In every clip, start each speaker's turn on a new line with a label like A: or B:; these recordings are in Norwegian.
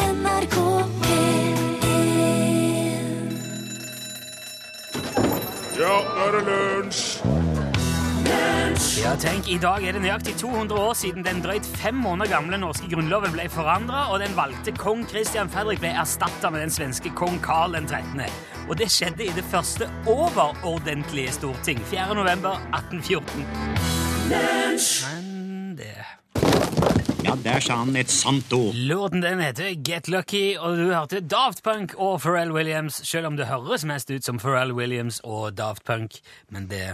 A: NRK P1
B: Ja, nå er det lunsj!
C: Ja, tenk, I dag er det nøyaktig 200 år siden den drøyt fem måneder gamle norske grunnloven ble forandra, og den valgte kong Christian Fredrik ble erstatta med den svenske kong Karl 13. Og det skjedde i det første overordentlige storting, 4. november 1814. Men det...
D: Ja, der sa han et sant ord.
C: Låten den heter Get Lucky, og du hørte Daft Punk og Pharrell Williams, selv om det høres mest ut som Pharrell Williams og Daft Punk, men det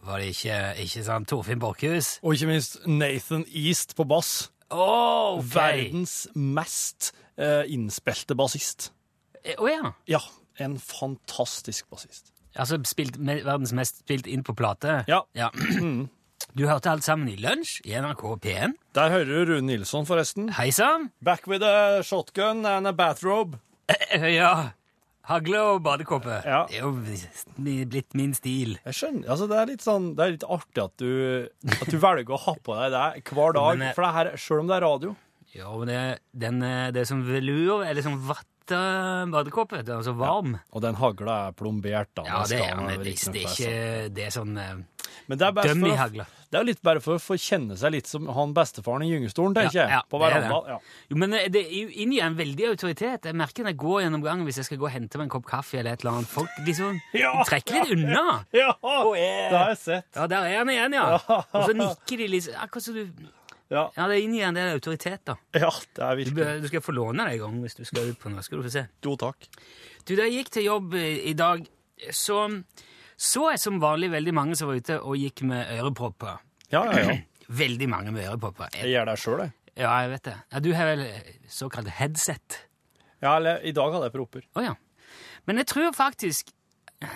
C: var det ikke, ikke sant, Torfinn Borkhus?
E: Og ikke minst Nathan East på bass.
C: Åh, ok.
E: Verdens mest eh, innspilte bassist.
C: Eh, Å ja.
E: Ja, en fantastisk bassist.
C: Altså spilt, me- verdens mest spilt inn på plate.
E: Ja. Mm.
C: Du hørte alt sammen i Lunsj i NRK P1.
E: Der hører du Rune Nilsson, forresten.
C: Hei sann!
E: Back with a shotgun and a bathrobe.
C: Eh, Ja. Hagle og badekåpe.
E: Ja.
C: Det er jo bli- blitt min stil.
E: Jeg skjønner, altså Det er litt sånn, det er litt artig at du, at du velger å ha på deg det hver dag,
C: Men eh, jeg-
E: for det her, selv om det er radio.
C: Ja, men det, den, eh, det er som velur, eller som vatta badekåpe. Den er så varm.
E: Og den hagla er plombert. da.
C: Ja, det
E: Den skal
C: er
E: man
C: men
E: vel
C: hvis det
E: riktignok
C: ikke
E: være sånn.
C: Det er sånn eh,
E: Men det er, best
C: døm i
E: for,
C: hagla.
E: å- det er jo litt bare for å få kjenne seg litt som han bestefaren i gyngestolen, tenker
C: Ja,
E: jeg.
C: ja,
E: på
C: det er det.
E: verandaen. Ja.
C: Jo, men eh, det er jo inngir en veldig autoritet. Jeg merker når jeg går gjennom gangen hvis jeg skal gå og hente meg en kopp kaffe eller et eller annet. Folk liksom
E: Ja.
C: trekker litt unna.
E: Ja,
C: eh,
E: det har jeg sett.
C: Ja, der er han igjen, ja. Og så nikker de liksom Akkurat som du
E: Ja,
C: Ja, det er inn i en del autoritet, da.
E: ja det er
C: Du,
E: virkelig.
C: bør- du skal få låne deg en gang hvis du skal ut på noe. Skal du få se.
E: Jo, takk.
C: Du, da jeg gikk til jobb eh, i i dag, så så jeg som vanlig veldig mange som var ute og gikk med ørepropper.
E: Ja, ja, ja.
C: Veldig mange med ørepropper.
E: Jeg
C: Jeg-
E: gjør det sjøl, jeg.
C: Ja, jeg vet det. Ja, du har vel eh, såkalt headset.
E: Ja, eller i dag hadde jeg proper.
C: Å ja. Men jeg tror faktisk eh,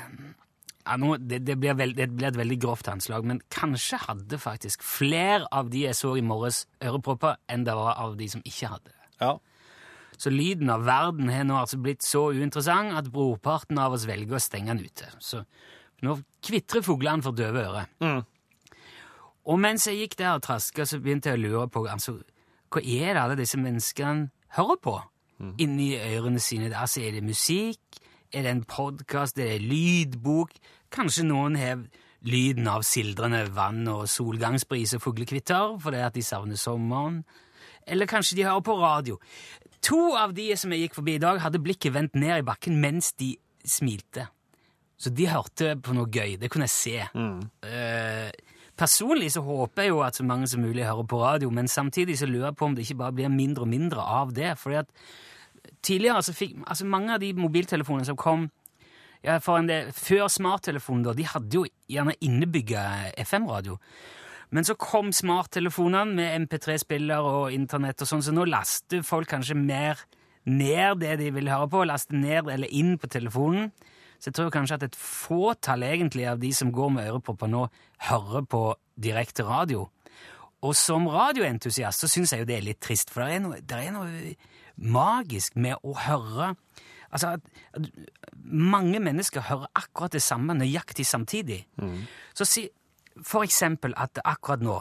C: ja, nå, det, det, blir veld, det blir et veldig grovt anslag, men kanskje hadde faktisk flere av de jeg så i morges, ørepropper enn det var av de som ikke hadde.
E: Ja.
C: Så lyden av verden har nå altså blitt så uinteressant at brorparten av oss velger å stenge den ute. Så nå kvitrer fuglene for døve ører. Og mens jeg gikk der og traska, så begynte jeg å lure på altså, hva er det alle disse menneskene hører på inni ørene sine. Altså, er det musikk? Er det en podkast? Er det lydbok? Kanskje noen har lyden av sildrende vann og solgangsbris og fuglekvitter fordi at de savner sommeren? Eller kanskje de hører på radio? To av de som jeg gikk forbi i dag, hadde blikket vendt ned i bakken mens de smilte. Så de hørte på noe gøy. Det kunne jeg se. Eh, personlig så håper jeg jo at så mange som mulig hører på radio, men samtidig så lurer jeg på om det ikke bare blir mindre og mindre av det. fordi at tidligere så fikk altså mange av de mobiltelefonene som kom ja, for en del, før smarttelefonen, da, de hadde jo gjerne innebygga FM-radio. Men så kom smarttelefonene med MP3-spiller og internett og sånn, så nå laster folk kanskje mer ned det de vil høre på, laster ned eller inn på telefonen. Så jeg tror kanskje at et fåtall egentlig av de som går med ørepropper nå, hører på direkte radio. Og som radioentusiast så syns jeg jo det er litt trist, for det er noe, der er noe magisk med å høre Altså at, at mange mennesker hører akkurat det samme nøyaktig samtidig. Så si for eksempel at akkurat nå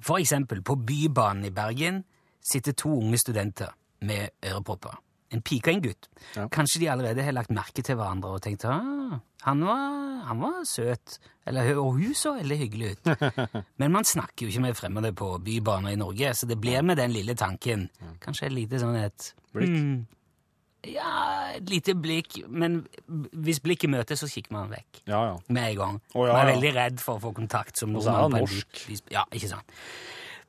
C: For eksempel på Bybanen i Bergen sitter to unge studenter med ørepropper. En pike og en gutt. Kanskje de allerede har lagt merke til hverandre og tenkt ah, han, var, han var søt. Eller, og hun så veldig hyggelig ut. Men man snakker jo ikke med fremmede på bybaner i Norge, så det blir med den lille tanken. Kanskje et lite sånn et
E: Blikk.
C: Ja, et lite blikk, men hvis blikket møtes, så kikker man vekk.
E: Ja, ja.
C: Med en gang.
E: Å, ja,
C: Man er
E: ja.
C: veldig redd for å få kontakt som
E: Og så er han
C: nordmann på en
E: norsk.
C: vis- Ja, ikke sant.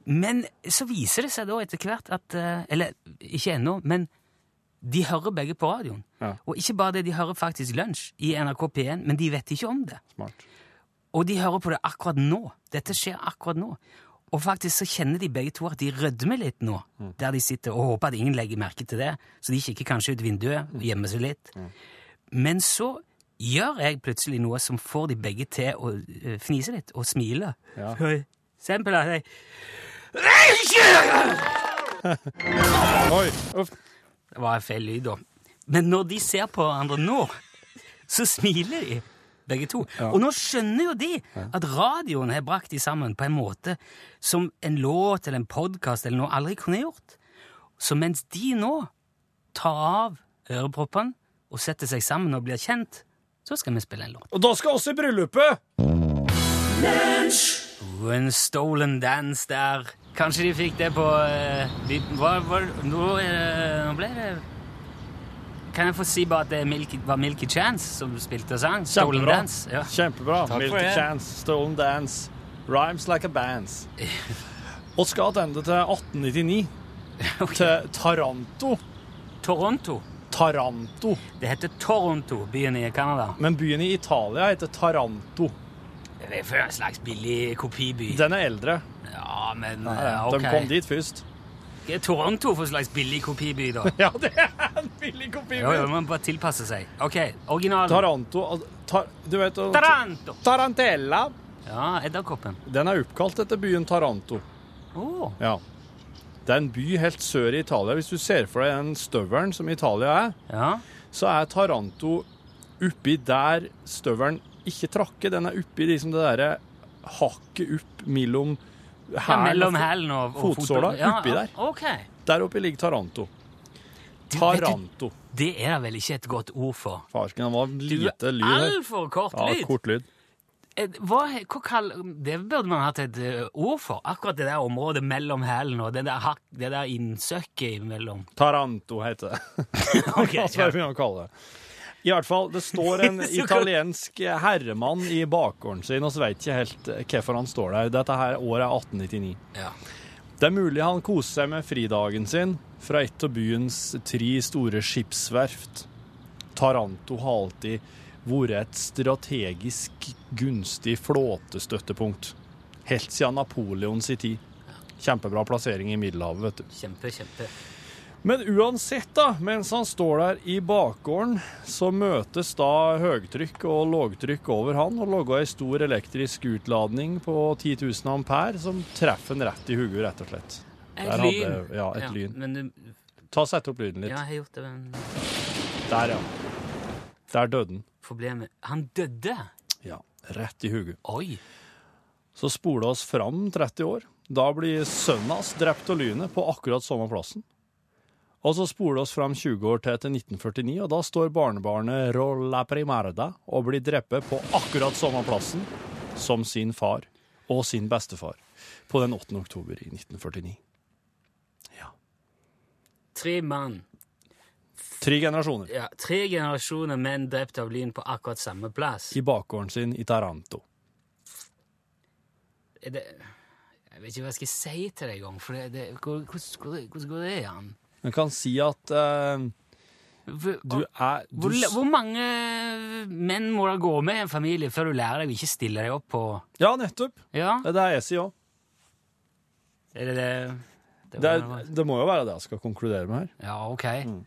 C: Men så viser det seg da etter hvert at eh, Eller ikke ennå, men de hører begge på radioen.
E: Ja.
C: Og ikke bare det, de hører faktisk Lunsj i NRK P1, men de vet ikke om det.
E: Smart.
C: Og de hører på det akkurat nå. Dette skjer akkurat nå. Og faktisk så kjenner de begge to at de rødmer litt nå, der de sitter, og håper at ingen legger merke til det, så de kikker kanskje ut vinduet og gjemmer seg litt. Men så gjør jeg plutselig noe som får de begge til å eh, fnise litt og smile.
E: Ja.
C: For eksempel at jeg
E: Oi! Uff.
C: Det var feil lyd, da. Men når de ser på hverandre nå, så smiler de, begge to. Og nå skjønner jo de at radioen har brakt de sammen på en måte som en låt eller en podkast eller noe aldri kunne gjort. Så mens de nå tar av øreproppen og setter seg sammen og blir kjent, så skal vi spille en låt.
E: Og da skal også i bryllupet!
C: When Stolen Dance der. Kanskje de fikk det på eh, vi- hva, hva, nå, er det, nå ble det Kan jeg få si bare at det er Milky, var Milky Chance som spilte og sang? Stolen
E: Kjempebra.
C: Dance. Ja.
E: Kjempebra.
C: for
E: Milky
C: det.
E: Chance, Stolen Dance, Rhymes Like a Bands. Og skal tilbake til 1899, til Taranto.
C: Toronto.
E: Taranto.
C: Det heter Toronto, byen i Canada.
E: Men byen i Italia heter Taranto.
C: Det er for en slags billig kopiby.
E: Den er eldre.
C: Ja, men eh,
E: De kom
C: ok.
E: dit først.
C: Hva er Toronto for en slags billig kopiby, da?
E: Ja, det er en billig kopi.
C: Jo, jo, man bare tilpasse seg. OK, originalen.
E: Taranto al- tar, Du vet al-
C: Taranto!
E: Tarantella.
C: Ja, edderkoppen.
E: Den er oppkalt etter byen Taranto.
C: Åh,
E: Ja. Det er en by helt sør i Italia. Hvis du ser for deg den støvelen som Italia er,
C: Ja.
E: så er Taranto oppi der støvelen ikke trakker. Den er oppi liksom det derre hakket opp mellom
C: ja
E: hælen
C: mellom
E: og fo-
C: hælen og, og
E: Fotsåla,
C: fotballen. ja,
E: oppi der.
C: OK.
E: Der oppi ligger Taranto.
C: Du, vet
E: Taranto.
C: du, det er det vel ikke et godt ord for.
E: Farsken, det var lite lyd her.
C: Altfor kort
E: Ja,
C: lyd!
E: kort lyd.
C: Eh, Hva, hva kall, det burde man hatt et eh, ord for. Akkurat det der området mellom hælen og det der, hak- det der innsøkket imellom.
E: Taranto heter det.
C: Ok,
E: Hva skal vi kalle det? I hvert fall, det står en
C: Så godt.
E: italiensk herremann i bakgården sin, og så vet ikke helt eh, hvorfor han står der. Dette her året er 1899.
C: Ja.
E: Det er mulig han koser seg med fridagen sin fra et av byens tre store skipsverft. Taranto har alltid vært et strategisk gunstig flåtestøttepunkt. Helt siden Napoleon sin tid. Kjempebra plassering i Middelhavet, vet du.
C: Kjempe, kjempe.
E: Men uansett, da, mens han står der i bakgården, så møtes da høytrykk og lågtrykk over han, og logger ei stor elektrisk utladning på 10 000 ampere, som treffer han rett i hodet, rett og slett.
C: Et
E: Der hadde-
C: lyn.
E: ja, et lyn.
C: Men du,
E: Ta og Sett opp lyden litt.
C: ja, jeg har gjort det, men
E: Der, ja. Der døde han.
C: problemet Han døde!
E: Ja, rett i hodet.
C: Oi!
E: Så spoler oss fram 30 år. Da blir sønnen hans drept av lynet på akkurat samme plassen. Og så spoler oss fram 20 år til til 1949, og da står barnebarnet Rolla Primarda og blir drept på akkurat samme plassen som sin far og sin bestefar på den 8. oktober i 1949.
C: Tre mann.
E: Tre generasjoner
C: Ja, tre generasjoner menn drept av lyn på akkurat samme plass.
E: i bakgården sin i Taranto.
C: Er det, jeg vet ikke hva jeg skal si til deg engang, for det, det, hvor- hvordan går det- hvordan går det an?
E: En kan si at eh,
C: Hvor,
E: du er du,
C: hvor,
E: s-
C: hvor mange eh, menn må det gå med i en familie før du lærer deg å ikke stille deg opp på
E: Ja, nettopp.
C: Ja,
E: Det er det jeg sier òg.
C: er det det?
E: Det,
C: var
E: er-
C: det.
E: det må jo være det jeg skal konkludere med her.
C: Ja, ok.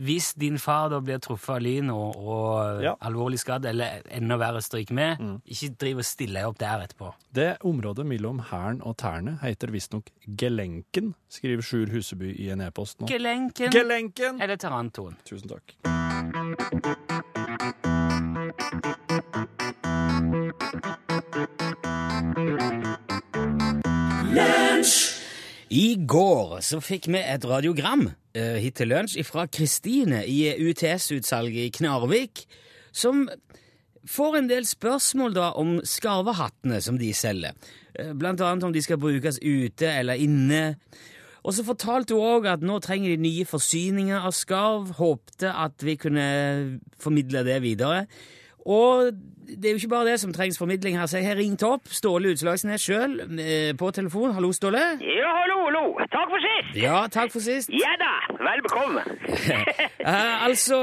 C: Hvis din far da blir truffet av lyn og, og eh,
E: Ja. Mm.
C: alvorlig skadd, eller enda verre stryk med, ikke driv og still deg opp der etterpå.
E: Det området mellom hæren og tærne heter visstnok Gelenken, skriver Sjur Huseby i en e-post nå.
C: Gelenken
E: Gelenken!
C: eller tarantoen.
E: Tusen takk.
C: I går så fikk vi et radiogram eh, hit til lunsj fra Kristine i UTS-utsalget i Knarvik, som får en del spørsmål da om skarvehattene som de selger. Eh, blant annet om de skal brukes ute eller inne. Og så fortalte hun òg at nå trenger de nye forsyninger av skarv. Håpte at vi kunne formidle det videre. Og det er jo ikke bare det som trengs formidling her, så jeg har ringt opp Ståle Utslagsnes sjøl på telefon. Hallo, Ståle.
A: Ja, hallo, hallo. Takk for sist.
C: Ja, takk for sist.
A: Ja da, vel bekomme.
C: Eh, altså,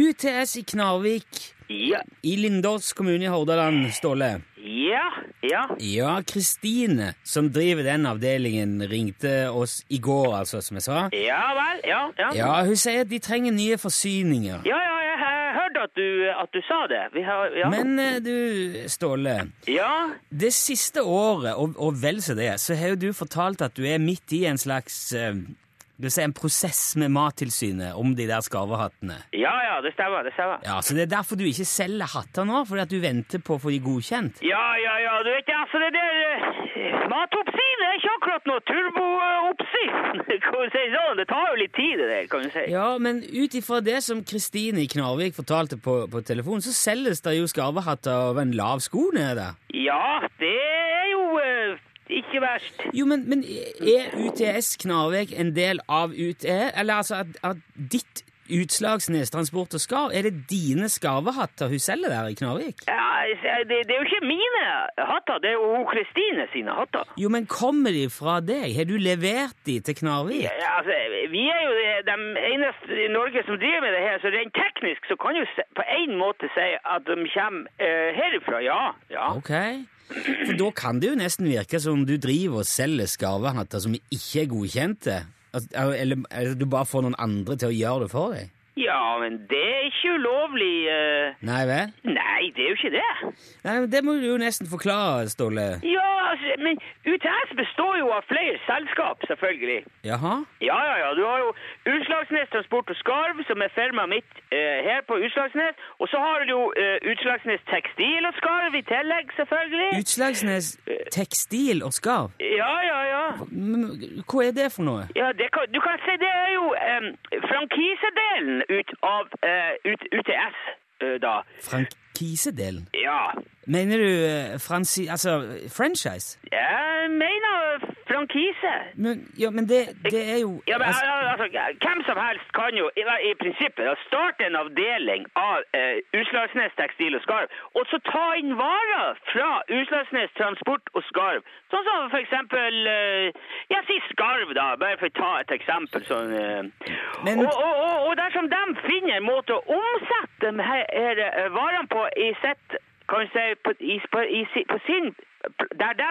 C: UTS i Knarvik,
A: Ja,
C: i Lindås kommune i Hordaland, Ståle.
A: ja, ja.
C: Ja, Kristine, som driver den avdelingen, ringte oss i går, altså, som jeg sa.
A: Ja vel, ja, ja. Ja,
C: Ja, hun sier at de trenger nye forsyninger.
A: ja, jeg har hørt at du, at du sa det. Vi har, ja.
C: Men eh, du, Ståle,
A: Ja,
C: det siste året, og, og vel så det, så har jo du fortalt at du er midt i en slags eh, du sier en prosess med Mattilsynet om de der skarvehattene.
A: ja, ja, det stemmer, det stemmer.
C: Ja, Så det er derfor du ikke selger hatter nå? Fordi at du venter på å få de godkjent?
A: Ja, ja, ja, du vet ikke, altså det der eh, matopsin, det er ikke akkurat noe turbooppsyn! Kan du si sånn? Det tar jo litt tid, det der, kan du si.
C: Ja, men ut ifra det som Kristine i Knarvik fortalte på, på telefon, så selges det jo skarvehatter av en lav sko nede der.
A: Ja, det er jo eh, ikke verst.
C: Jo, men, men er UTS Knarvik en del av UTE? Eller altså at, at ditt utslag Snestransport og Skarv, er det dine skarvehatter hun selger der i Knarvik?
A: Ja, jeg- det, det er jo ikke mine hatter, det er jo hun Kristine sine hatter.
C: Jo, men kommer de fra deg? Har du levert de til Knarvik?
A: Ja, altså, vi er jo de- de eneste i Norge som driver med det her, så rent teknisk så kan du se- på en måte si at de kommer eh, herifra, ja. ja.
C: Ok. For da kan det jo nesten virke som om du driver og selger skarvehatter som ikke er godkjente. Altså, Eller, eller du bare får noen andre til å gjøre det for deg.
A: Ja, men det er ikke ulovlig. eh.
C: Nei vel?
A: Nei, det er jo ikke det.
C: Nei, men Det må du jo nesten forklare, Ståle.
A: Ja, altså, men UTS består jo av flere selskap, selvfølgelig.
C: Jaha?
A: Ja, ja, ja. Du har jo Utslagsnes Transport og Skarv, som er firmaet mitt eh, her på Utslagsnes. Og så har du jo eh, Utslagsnes Tekstil og Skarv i tillegg, selvfølgelig.
C: Utslagsnes tekstil og skarv?
A: Ja, ja, ja.
C: Men Hva er det for noe?
A: ja det kan, du kan si det er jo eh, frankisedelen ut av eh, ut, UTS, eh, da.
C: Frankisedelen?
A: Ja.
C: Mener du eh, fransi... Altså franchise?
A: Jeg mener frankise.
C: Men, ja, men det, det er jo
A: Ja, men
C: altså,
A: al- altså, Hvem som helst kan jo i, i prinsippet da, starte en avdeling av eh, Utslagsnes tekstil og skarv, og så ta inn varer fra Utslagsnes transport og skarv. Sånn som for eksempel eh, Jeg sier skarv, da, bare for å ta et eksempel. sånn... Eh.
C: Men-
A: og, og, og, og dersom de finner en måte å omsette de her, her eh, varene på i sitt Kan du si på, i, på, i, si- på sin Der de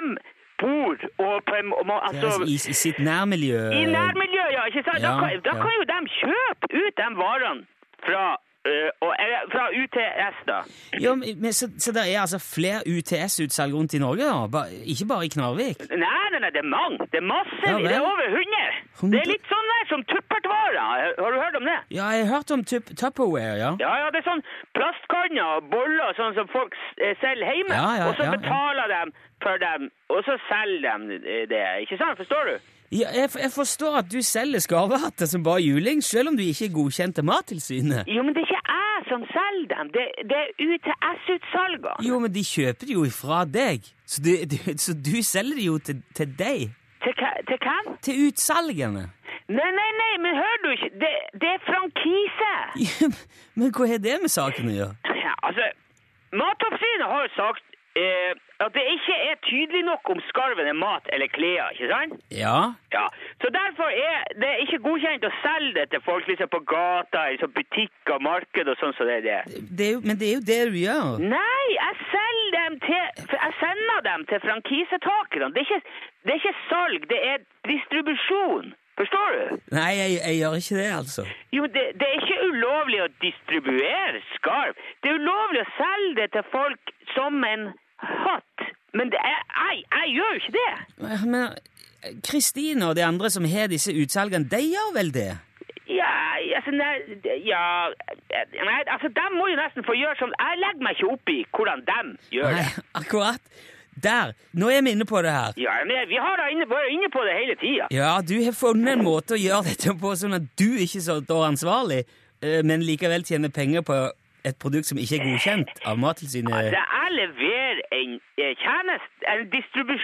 A: bor og på en må, altså,
C: altså, i, I sitt nærmiljø
A: i nærmiljøet, ja. ikke sant? Da,
C: Eh, Ja,
A: kan, da
C: ja.
A: kan jo de kjøpe ut de varene fra, eh, og, eller, fra UTS, da.
C: Ja, men, så, så det er altså flere UTS-utsalg rundt i Norge, da? Ba, ikke bare i Knarvik?
A: Nei, nei, nei, det er mange. Det er masse.
C: Ja, vel.
A: det er over 100. Det er litt sånn der som tuppertvarer. Har du hørt om det?
C: Ja, jeg har hørt om tup Tupperware, ja.
A: Ja, ja, det er sånn plastkanner og boller sånn som folk s- eh, selger hjemme.
C: Ja, ja,
A: og så
C: ja, ja.
A: betaler de for dem, og så selger de eh, det. Ikke sant? Forstår du?
C: ja jeg, f- jeg forstår at du selger skarvehatter som bare juling, selv om du ikke er godkjent til Mattilsynet.
A: Jo, men det er ikke jeg som selger dem. Det, det er UTS-utsalgene.
C: Jo, men de kjøper det jo fra deg, så du, du, så du selger det jo til, til deg.
A: Til, hva- til hvem?
C: Til utsalgene.
A: Nei, nei, nei, men hører du ikke? Det, det er frankise!
C: Ja, men hva har det med saken å gjøre?
A: Ja, altså, Matoppsynet har jo sagt eh, at det ikke er tydelig nok om skarven er mat eller klær, ikke sant?
C: Ja,
A: Ja, Så derfor er det ikke godkjent å selge det til folk liksom på gata, i sånn butikker, marked og sånn som det er. det.
C: det er jo, men det er jo det du gjør.
A: Nei, jeg selger dem til for Jeg sender dem til frankisetakerne. Det, er ikke- det er ikke salg, det er distribusjon. Forstår du?
C: Nei, jeg, jeg gjør ikke det, altså.
A: Jo, det, det er ikke ulovlig å distribuere skarv. Det er ulovlig å selge det til folk som en hatt. Men det er, jeg, jeg gjør jo ikke det.
C: Men Kristine og de andre som har disse utsalgene, de gjør vel det?
A: Ja, altså, nei, det- ja, nei, altså, de må jo nesten få gjøre som Jeg legger meg ikke opp i hvordan de gjør
C: Nei,
A: det.
C: akkurat. Der! Nå er vi inne på det her.
A: Ja, men Vi har da inne, vært inne på det hele tida.
C: Ja, du har funnet en måte å gjøre dette på, sånn at du ikke står ansvarlig, eh, men likevel tjener penger på et produkt som ikke er godkjent av Mattilsynet.
A: Altså, jeg leverer en, eh, tjeneste, en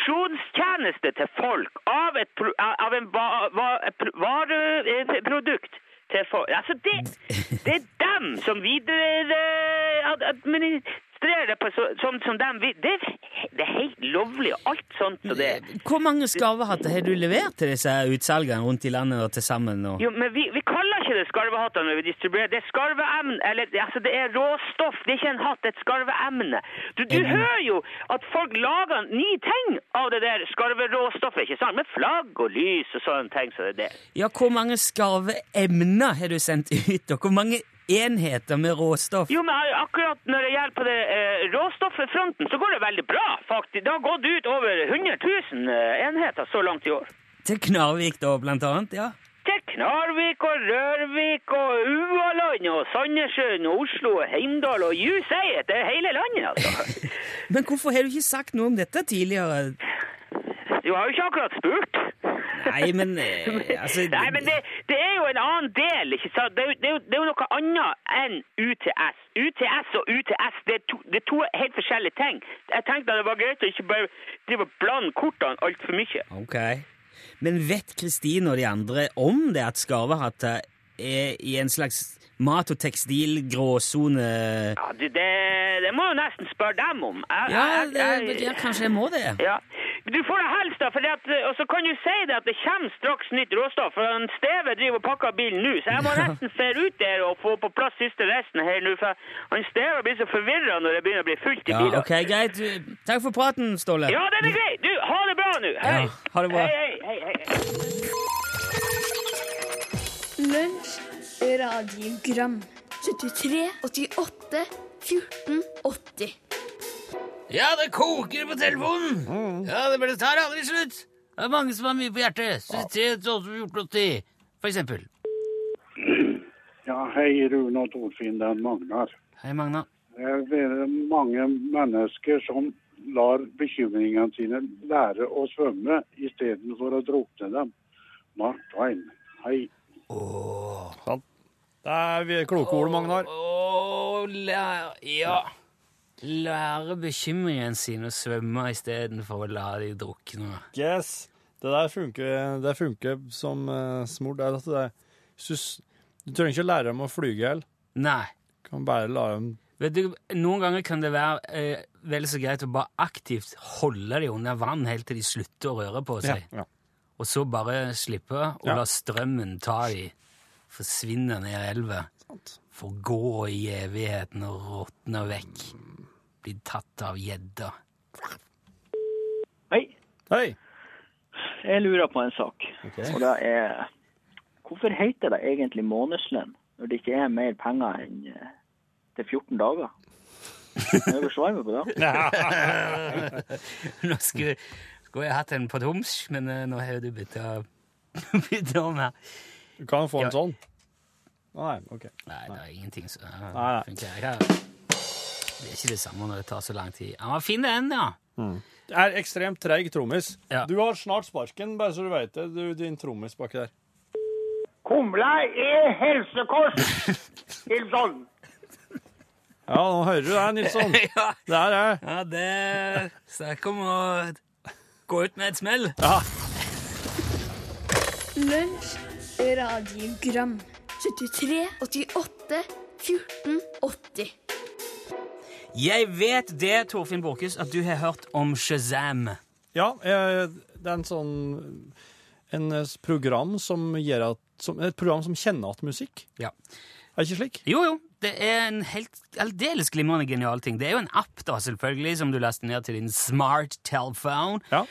A: distribusjonstjeneste til folk av et, pro- av en va, va, et pro- vare- eh, produkt til folk. Altså, det, det er dem som videre eh, ad- administrerer det på så, som, som dem vil. Det, er he- det er helt lovlig, alt sånt og det.
C: Hvor mange skarvehatter har du levert til disse utsalgene rundt i landet nå til sammen? nå?
A: Jo, men vi, vi kaller ikke det skarvehatter når vi distribuerer. Det er skarveemne, eller altså det er råstoff. Det er ikke en hatt, det er et skarveemne. Du, du
C: Emne.
A: hører jo at folk lager nye ting av det der skarveråstoffet, ikke sant? Med flagg og lys og sånne ting som så det der.
C: Ja, hvor mange skarveemner har du sendt ut, og hvor mange enheter med råstoff?
A: Jo, men akkurat når det gjelder på det eh, råstofffronten, så går det veldig bra, faktisk. Det har gått ut over 100 000 eh, enheter så langt i år.
C: Til Knarvik, da, blant annet? Ja.
A: Til Knarvik og Rørvik og Ualand og Sandnessjøen og Oslo og Heimdal og you say it! Det er hele landet, altså.
C: Men hvorfor har du ikke sagt noe om dette tidligere?
A: Jo, du har jo ikke akkurat spurt.
F: Nei, men eh, altså
A: Nei, men det, det er jo en annen del, ikke sant? Det, er jo- det, er jo- det er jo noe annet enn UTS. UTS og UTS, det er to, det er to helt forskjellige ting. Jeg tenkte at det var greit å ikke bare drive og blande kortene altfor mye.
F: Ok. Men vet Kristine og de andre om det at skarvehatta er i en slags mat- og tekstilgråsone?
A: Ja, det, det, det må jo nesten spørre dem om. Jeg-
F: Ja,
A: jeg-
F: det,
A: jeg-
F: ja, kanskje jeg må det.
A: Ja. Du får det helst, da. Fordi at, og så kan du si det at det kommer straks nytt råstoff. For han Steve driver og pakker bilen nå, så jeg må nesten se ut der og få på plass siste resten her nå. For han Steve blir så forvirra når det begynner å bli fullt i
F: Ja,
A: bilen.
F: ok, greit. Du, Takk for praten, Ståle.
A: Ja, den er grei! Du, ha det bra nå! Hei!
F: Ja, ha det bra.
A: Hei, hei, hei, hei.
G: Lunsj, radiogram 73, 88, 14, 80
C: Ja, det koker på telefonen!
A: Mm.
C: Ja, det bare tar aldri slutt! Det er mange som har mye på hjertet. 73, 12, 14, 80, for eksempel.
H: Ja, hei Rune og Torfinn, det er Magnar.
C: Hei, Magna.
H: Det er mange mennesker som lar bekymringene sine lære å svømme istedenfor å drukne dem. Mark Twain, hei.
E: Sant? Det er vi- kloke ord, Magnar.
C: Å, lære Ja. Lære bekymringen sin å svømme istedenfor å la de drukne.
E: Yes. Det der funker, det funker som eh, smurt. Det er at det er- hvis du s- Du trenger ikke å lære dem å flyge heller.
C: Nei.
E: Kan bare lære dem
C: Vet du, Noen ganger kan det være eh, vel så greit å bare aktivt holde dem under vann helt til de slutter å røre på
E: ja,
C: seg,
E: ja.
C: og så bare slippe og
E: Ja.
C: la strømmen ta dem, forsvinne ned i elva, forgå i evigheten og råtne vekk, bli tatt av gjedda.
I: Hei,
E: Hei!
I: jeg lurer på en sak. Og det er Hvorfor heter det egentlig månedslønn når det ikke er mer penger enn eh, til 14 dager? Kan du svare meg på det?
C: Nå skulle, skulle jeg hatt en på toms, men eh, nå har du bytta bytta om her.
E: Du kan få en
C: Ja.
E: sånn. Nei, OK.
C: Nei, det er ingenting som ah,
E: nei.
C: funker. Jeg har- Det er ikke det samme når det tar så lang tid. Han var fin, den, ja.
E: Det er ekstremt treig trommis.
C: Ja.
E: Du har snart sparken, bare så du veit det, du, din trommis baki der.
B: Kumla er helsekost! Nilsson.
E: Ja, nå hører du det, Nilsson.
C: ja.
E: Der er
C: Ja, det Snakk om å gå ut med et smell.
G: Lunsj, radiogram 73, 88, 14, 80
C: Jeg vet det, Torfinn Borchhus, at du har hørt om Shazam.
E: Ja, eh, det er en sånn en eh, program som gjør at som, Et program som kjenner at musikk.
C: Ja.
E: Er det ikke slik?
C: Jo, jo. Det er en helt aldeles glimrende genial ting. Det er jo en app, da, selvfølgelig, som du laster ned til din smart telephone.
E: Ja.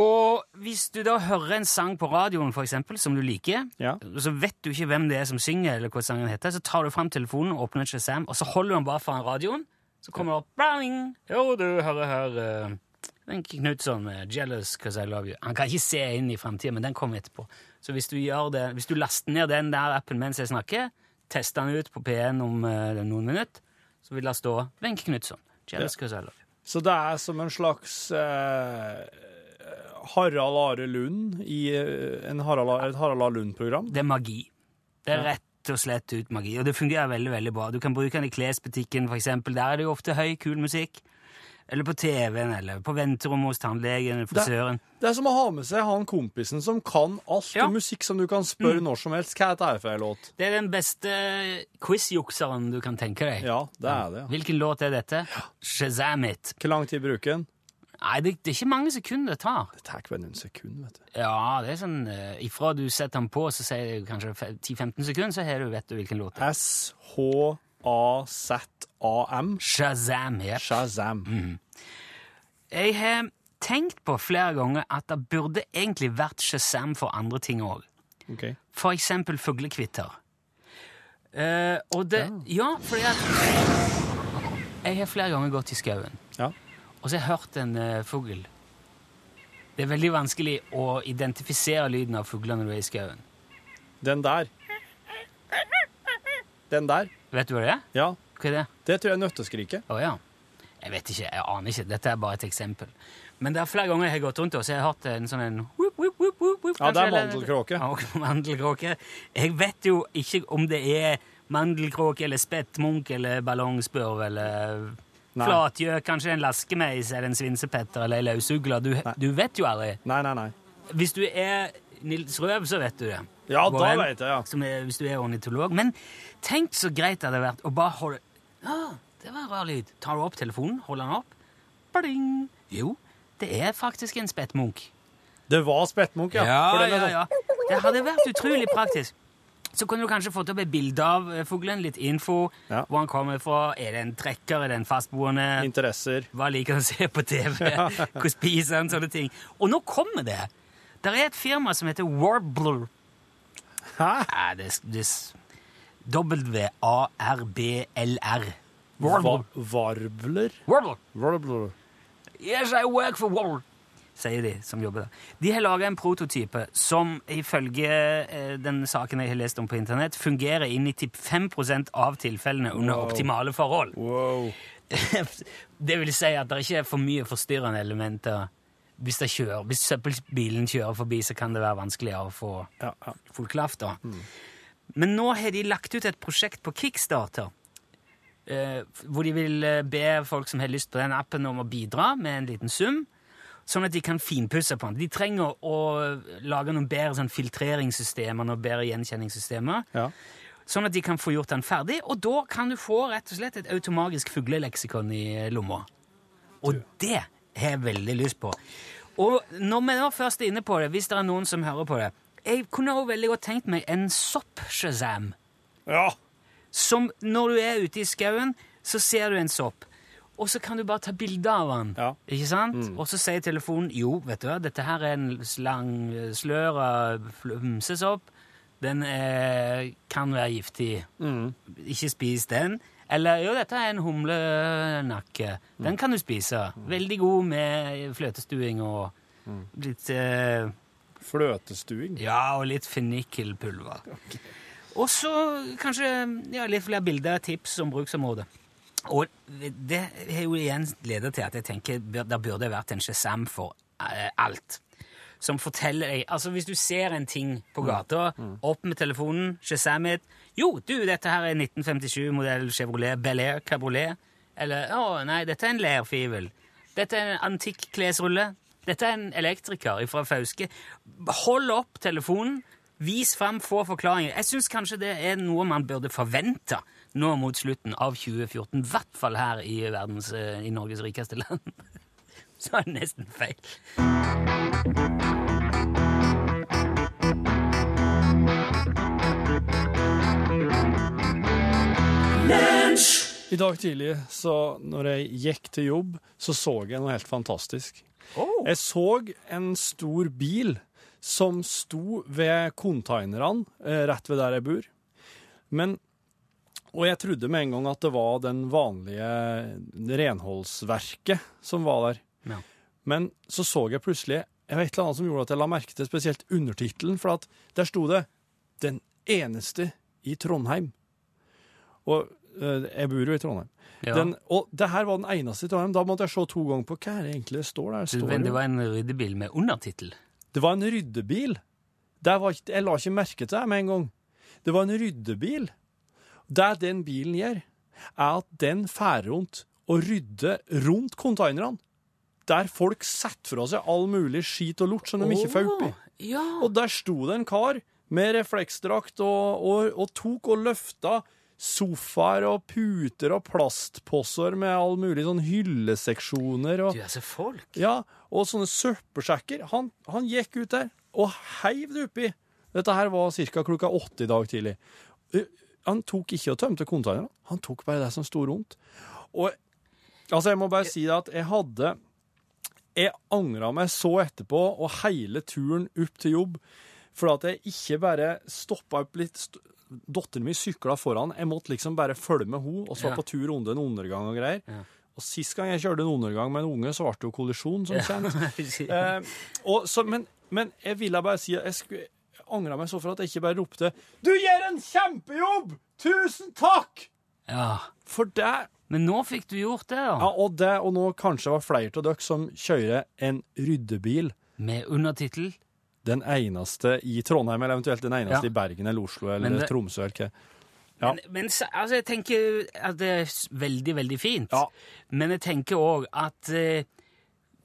C: Og hvis du da hører en sang på radioen, for eksempel, som du liker,
E: Ja.
C: så vet du ikke hvem det er som synger, eller hva sangen heter, så tar du fram telefonen og åpner Shazam, og så holder du den bare foran radioen, så kommer det opp Bang! Jo, du hører her eh, Wenche Knutson med eh, 'Jealous Cause I Love You'. Han kan ikke se inn i fremtiden, men den kommer etterpå. Så hvis du, gjør det, hvis du laster ned den der appen mens jeg snakker, tester den ut på P1 om eh, noen minutter, så vil det stå Wenche Knutson. 'Jealous Cause I Love You'.
E: Så det er som en slags eh, Harald Are Lund i eh, en Harald, A- et Harald A. Lund-program.
C: Det er magi. Det er rett og slett ut magi, og det fungerer veldig veldig bra. Du kan bruke den i klesbutikken, for eksempel. Der er det jo ofte høy, kul musikk. Eller på TV-en, eller på venterommet hos tannlegen eller frisøren.
E: Det er som å ha med seg han kompisen som kan alt
C: Ja.
E: om musikk som du kan spørre når som helst. Hva er dette her for en låt?
C: Det er den beste quizjukseren du kan tenke deg.
E: Ja, det er det. ja.
C: Hvilken låt er dette? Shazam it!
E: Hvor lang tid bruker den?
C: Nei, det, det er ikke mange sekunder det tar.
E: Det tar ikke bare noen sekunder, vet du.
C: Ja, det er sånn eh, Ifra du setter den på, så sier det kanskje fe- 10-15 sekunder, så har du vet du hvilken låt det er.
E: S-H-A-Z-A-M.
C: Shazam, ja.
E: Shazam.
C: Jeg har tenkt på flere ganger at det burde egentlig vært Shazam for andre ting òg.
E: Ok.
C: For eksempel fuglekvitter. Eh, og det Ja, fordi at Jeg har flere ganger gått i skauen,
E: Ja.
C: og så har jeg hørt en eh, fugl. Det er veldig vanskelig å identifisere lyden av fugler når du er i skauen.
E: Den der. Den der.
C: Vet du hva det er?
E: Ja.
C: Hva er det?
E: Det tror jeg er nøtteskriket.
C: Å ja. Jeg vet ikke, jeg aner ikke. Dette er bare et eksempel. Men det er flere ganger jeg har gått rundt og så har jeg hørt en sånn en whoop, whoop, whoop, whoop, whoop,
E: Ja, det er
C: kanskje, eller-
E: mandelkråke.
C: Ja, ok, mandelkråke. Jeg vet jo ikke om det er mandelkråke eller spettmunk eller ballongspørv eller
E: Nei.
C: flatgjøk, kanskje en laskemeis eller en svinsepetter eller en løsugle. Du, du vet jo aldri.
E: Nei, nei, nei.
C: Hvis du er Nils Røv, så vet du det.
E: Ja,
C: Hvor
E: da
C: enn-
E: vet jeg, ja.
C: Som er, hvis du er ornitolog. Men tenk så greit det hadde vært å bare holde Ja, det var en rar lyd. Tar du opp telefonen, holder den opp. Bling. Jo, det er faktisk en spettmunk.
E: Det var spettmunk, ja. For
C: Ja,
E: den er
C: ja,
E: sånn-
C: ja. Det hadde vært utrolig praktisk. Så kunne du kanskje fått opp et bilde av eh, fuglen, litt info.
E: Ja.
C: Hvor han kommer fra. Er det en trekker? Er det en fastboende?
E: Interesser.
C: Hva liker han å se på TV? Hva spiser han? Sånne ting. Og nå kommer det! Der er et firma som heter Warbler.
E: Hæ?
C: Nei, det, er- det er W-A-R-B-L-R.
E: Va varvler?
C: Warbler.
E: Varvler.
C: Yes, I work for Wall, sier de som jobber der. De har laga en prototype som ifølge eh, den saken jeg har lest om på internett, fungerer i 95 av tilfellene under
E: Wow.
C: optimale forhold.
E: Wow.
C: det vil si at det ikke er for mye forstyrrende elementer. Hvis, det kjører, hvis søppelbilen kjører forbi, så kan det være vanskeligere å få
E: Ja, ja. Mm.
C: full kraft. da. Men nå har de lagt ut et prosjekt på Kickstarter. eh, hvor de vil eh, be folk som har lyst på den appen, om å bidra med en liten sum. Sånn at de kan finpusse på den. De trenger å lage noen bedre sånn, filtreringssystemer noen bedre gjenkjenningssystemer.
E: Ja.
C: Sånn at de kan få gjort den ferdig, og da kan du få rett og slett et automatisk fugleleksikon i lomma. Og det har jeg veldig lyst på. Og når vi nå først er inne på det, hvis det er noen som hører på det Jeg kunne også veldig godt tenkt meg en sopp-shazam.
E: ja.
C: Som når du er ute i skauen, så ser du en sopp. Og så kan du bare ta bilde av den.
E: Ja.
C: Ikke sant? Og så sier telefonen jo, vet du hva, dette her er en lang eh, slør av flumsesopp. Den eh, kan være giftig. Ikke spis den. Eller jo, dette er en humlenakke. Den kan du spise. Veldig god med fløtestuing og litt eh,
E: Fløtestuing.
C: ja, og litt fennikelpulver. Og så kanskje ja, litt flere bilder, tips om bruksområdet. Og det har jo igjen ledet til at jeg tenker bør- der burde det vært en Shazam for eh, alt. Som forteller deg Altså, hvis du ser en ting på gata, opp med telefonen, Shazam it. Jo, du, dette her er 1957-modell Chevrolet Bel Air Cabrolet. Eller å, nei, dette er en lerfivel. Dette er en antikk klesrulle. Dette er en elektriker fra Fauske. Hold opp telefonen. Vis fram få forklaringer. Jeg syns kanskje det er noe man burde forvente nå mot slutten av 2014. I hvert fall her i, verdens, eh, i Norges rikeste land. Så er det nesten feil.
E: I dag tidlig, så når jeg gikk til jobb, så så jeg noe helt fantastisk. Jeg så en stor bil som sto ved konteinerne eh, rett ved der jeg bor. Men, og jeg trodde med en gang at det var den vanlige renholdsverket som var der.
C: Ja.
E: Men så så jeg plutselig jeg vet et eller annet som gjorde at jeg la merke til spesielt undertittelen, for at der sto det 'Den eneste i Trondheim'. Og eh, jeg bor jo i Trondheim.
C: Ja.
E: Den, og det her var den eneste i Trondheim. Da måtte jeg se to ganger på hva er det egentlig det står der. Står
C: Men det
E: det,
C: var en ryddebil med undertittel.
E: det var en ryddebil. Det var, ikke- jeg la ikke merke til det med en gang. Det var en ryddebil. Det den bilen gjør, er at den fær rundt og rydder rundt konteinerne. Der folk setter fra seg all mulig skit og lort som de ikke får oppi.
C: Ja.
E: Og der sto det en kar med refleksdrakt og, og, og tok og løfta sofaer og puter og plastposer med all mulig sånn hylleseksjoner
C: Du
E: og,
C: er så folk.
E: ja, og sånne søppelsjekker. Han, han gikk ut der og heiv det oppi. Dette her var ca. klokka åtte i dag tidlig. Uh, Han tok ikke og tømte konteinerne. Han tok bare det som sto rundt. Og altså, jeg må bare si det at jeg hadde jeg angra meg så etterpå, og hele turen opp til jobb, for at jeg ikke bare stoppa opp litt st- Datteren min sykla foran. Jeg måtte liksom bare følge med henne, og så
C: Ja.
E: på tur under en undergang og greier.
C: Ja.
E: Og sist gang jeg kjørte en undergang med en unge, så ble det jo kollisjon, som kjent.
C: Ja.
E: Eh, og så, men, men jeg ville bare si at jeg, skulle- jeg angra meg så for at jeg ikke bare ropte 'Du gjør en kjempejobb! Tusen takk!'
C: Ja.
E: For det
C: Men nå fikk du gjort det, da.
E: Ja, og det, og nå kanskje var flere av dere som kjører en ryddebil.
C: Med undertittel.
E: Den eneste i Trondheim, eller eventuelt den eneste
C: Ja.
E: i Bergen eller Oslo eller
C: Men det-
E: Tromsø eller hva. Ja.
C: Men, men s- altså, jeg tenker at det er s- veldig, veldig fint.
E: Ja.
C: Men jeg tenker òg at eh,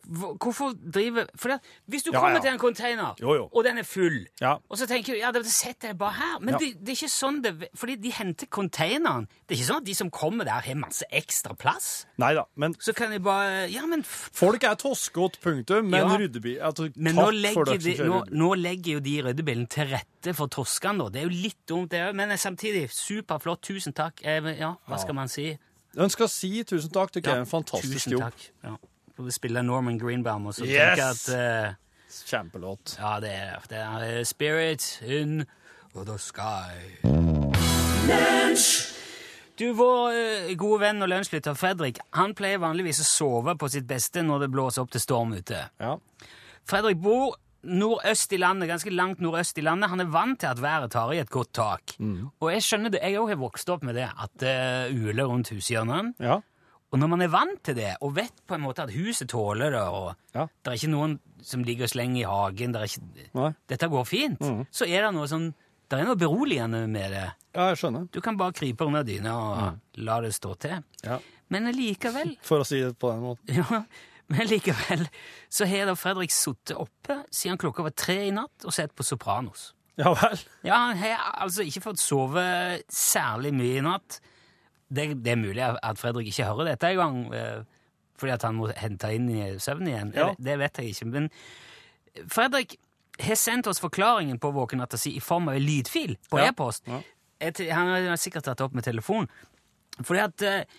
C: hvor- Hvorfor driver For det, hvis du
E: Ja,
C: kommer
E: ja.
C: til en container,
E: Jo, jo.
C: og den er full,
E: Ja.
C: og så tenker du ja, da setter jeg bare her Men
E: Ja.
C: det, det er ikke sånn det Fordi de henter containeren. Det er ikke sånn at de som kommer der, har masse ekstra plass.
E: Nei da, men
C: Så kan de bare Ja, men f-
E: folk er toskete, punktum. Men
C: Ja.
E: ryddebil altså,
C: Men nå
E: Takk for
C: legger,
E: dere
C: de,
E: som kjører
C: nå,
E: ryddebil.
C: nå legger jo de ryddebilen til rette for toskene, da. Det er jo litt dumt, det òg, men eh, samtidig superflott. Tusen takk. Eh, ja, hva skal man si?
E: Den skal si tusen takk. Dere er en fantastisk
C: tusen
E: jobb.
C: takk. Ja. Får vi spille Norman Greenbaum og så
E: Yes!
C: tenke at eh,
E: Kjempelåt.
C: Ja, det er det. Er, eh, Spirit in the sky. Du, Vår eh, gode venn og lunsjlytter Fredrik han pleier vanligvis å sove på sitt beste når det blåser opp til storm ute.
E: Ja.
C: Fredrik bor nordøst i landet, ganske langt nordøst i landet. Han er vant til at været tar i et godt tak.
E: Mm.
C: Og jeg skjønner det, jeg òg har vokst opp med det, at det uler rundt hushjørnene.
E: ja.
C: Og når man er vant til det, og vet på en måte at huset tåler det, og
E: Ja.
C: det er ikke noen som ligger og slenger i hagen, det er ikke,
E: Nei. Mm.
C: dette går fint, så er det noe sånn, det er noe beroligende med det.
E: Ja, jeg skjønner.
C: Du kan bare krype under dyna og la det stå til.
E: Mm. Ja.
C: Men likevel,
E: For å si det på den måten.
C: ja, men likevel, så har da Fredrik suttet oppe siden klokka var tre i natt og sett på Sopranos.
E: Ja vel.
C: Ja, han har altså ikke fått sove særlig mye i natt. Det, det er mulig at Fredrik ikke hører dette engang, eh, fordi at han må hente inn i søvn igjen.
E: Ja.
C: Det, det vet jeg ikke. Men Fredrik har sendt oss forklaringen på våkenatta si i form av en lydfil på
E: Ja.
C: e-post.
E: Ja.
C: Et- Han har sikkert tatt det opp med telefon. Fordi at eh,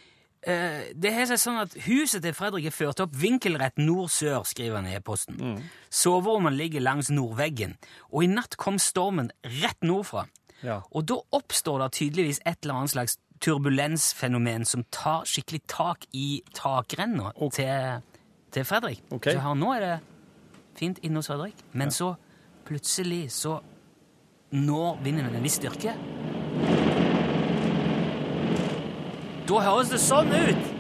C: eh, det har seg sånn at huset til Fredrik er ført opp vinkelrett nord-sør, skriver han i e-posten. Soverommet ligger langs nordveggen, og i natt kom stormen rett nordfra.
E: Ja.
C: Og da oppstår det tydeligvis et eller annet slags turbulensfenomen som tar skikkelig tak i takrenna til, til Fredrik.
E: Ok.
C: Så her nå er det fint inne hos Fredrik, men så plutselig så når vinden en viss styrke. Da høres det sånn ut!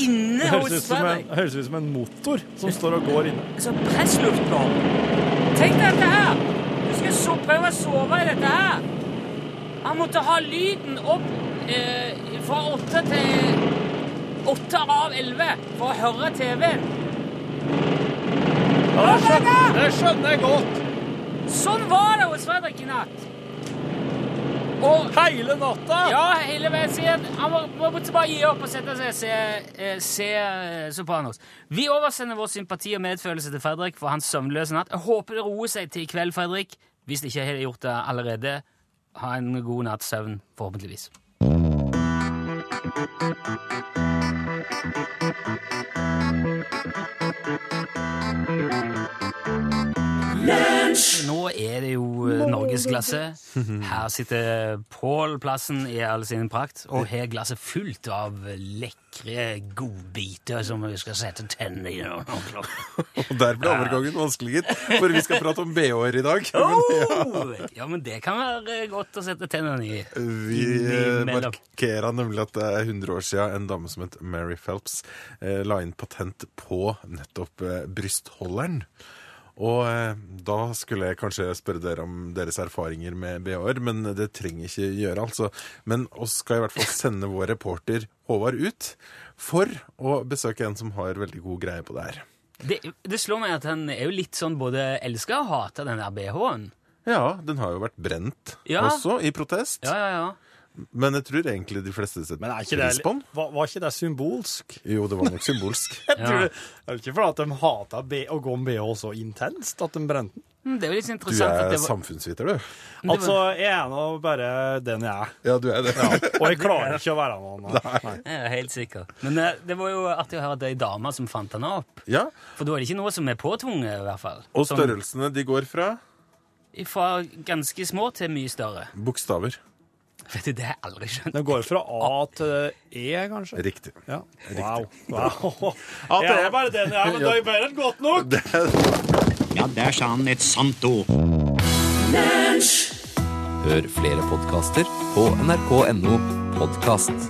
C: Inne
E: Det høres ut
C: hos
E: som en,
C: Fredrik!
E: høres ut som en motor som står og går inne.
C: Så pressluft nå. Altså, Tenk deg dette her! Du skal so prøve å sove i dette her. Han måtte ha lyden opp eh, fra åtte til åtte av elleve for å høre TV-en.
E: Ja, det, skjønner, det skjønner jeg godt.
C: Sånn var det hos Fredrik i natt. Og
E: Hele natta!
C: ja, hele veien siden. Han må- må- måtte bare gi opp og sette seg og se, eh, se eh, Sopranos. Vi oversender vår sympati og medfølelse til Fredrik for hans søvnløse natt. Jeg håper det roer seg til i kveld, Fredrik. Hvis det ikke har gjort det allerede, ha en god natts søvn, forhåpentligvis. Nå er det jo eh, norgesglasse. Her sitter Pål Plassen i all sin prakt og har glasset fullt av lekre godbiter som vi skal sette tennene i. og- og-
J: Og der ble overgangen vanskelig, gitt. For vi skal prate om BH-er i dag.
C: Oh! Ja, men det kan være eh, godt å sette tennene i.
J: Vi
C: Innimellom.
J: markerer nemlig at det er 100 år siden en dame som het Mary Phelps, eh, la inn patent på nettopp eh, brystholderen. Og eh, da skulle jeg kanskje spørre dere om deres erfaringer med BH-er, men det trenger jeg ikke gjøre, altså. Men oss skal i hvert fall sende vår reporter Håvard ut for å besøke en som har veldig god greie på det her.
C: Det, det slår meg at han er jo litt sånn både elsker og hater den der BH-en.
J: Ja, den har jo vært brent
C: Ja.
J: også, i protest.
C: Ja, ja, ja.
J: Men jeg tror egentlig de fleste setter
E: Men er ikke det,
J: pris på den.
E: var, var ikke det symbolsk?
J: Jo, det var nok symbolsk.
E: Jeg tror det, det er vel ikke fordi at de hata B- å gå med BH så intenst at de brente den.
C: Mm, Det er jo litt
J: Du
C: interessant at
J: er
C: det var
J: samfunnsviter, du.
E: Altså, jeg er nå bare den jeg er.
J: Ja, du er det.
E: Og jeg klarer ikke å være noen annen. Nei.
C: Jeg er helt sikker. Men eh, det var jo artig å høre at det er ei dame som fant den opp.
J: Ja,
C: For da er det ikke noe som er påtvunget, i hvert fall.
J: Og
C: Sånn-
J: størrelsene de går fra
C: Fra ganske små til mye større.
J: bokstaver.
C: Vet du, Det har jeg aldri skjønt.
E: Den går fra A til E, kanskje?
J: Riktig.
E: Ja. Wow. wow. Jeg
J: At det
E: er
J: er-
E: bare den jeg er, men det er mer enn godt nok!
D: Ja, der sa han et sant ord.
K: Hør flere podkaster på nrk.no Podkast.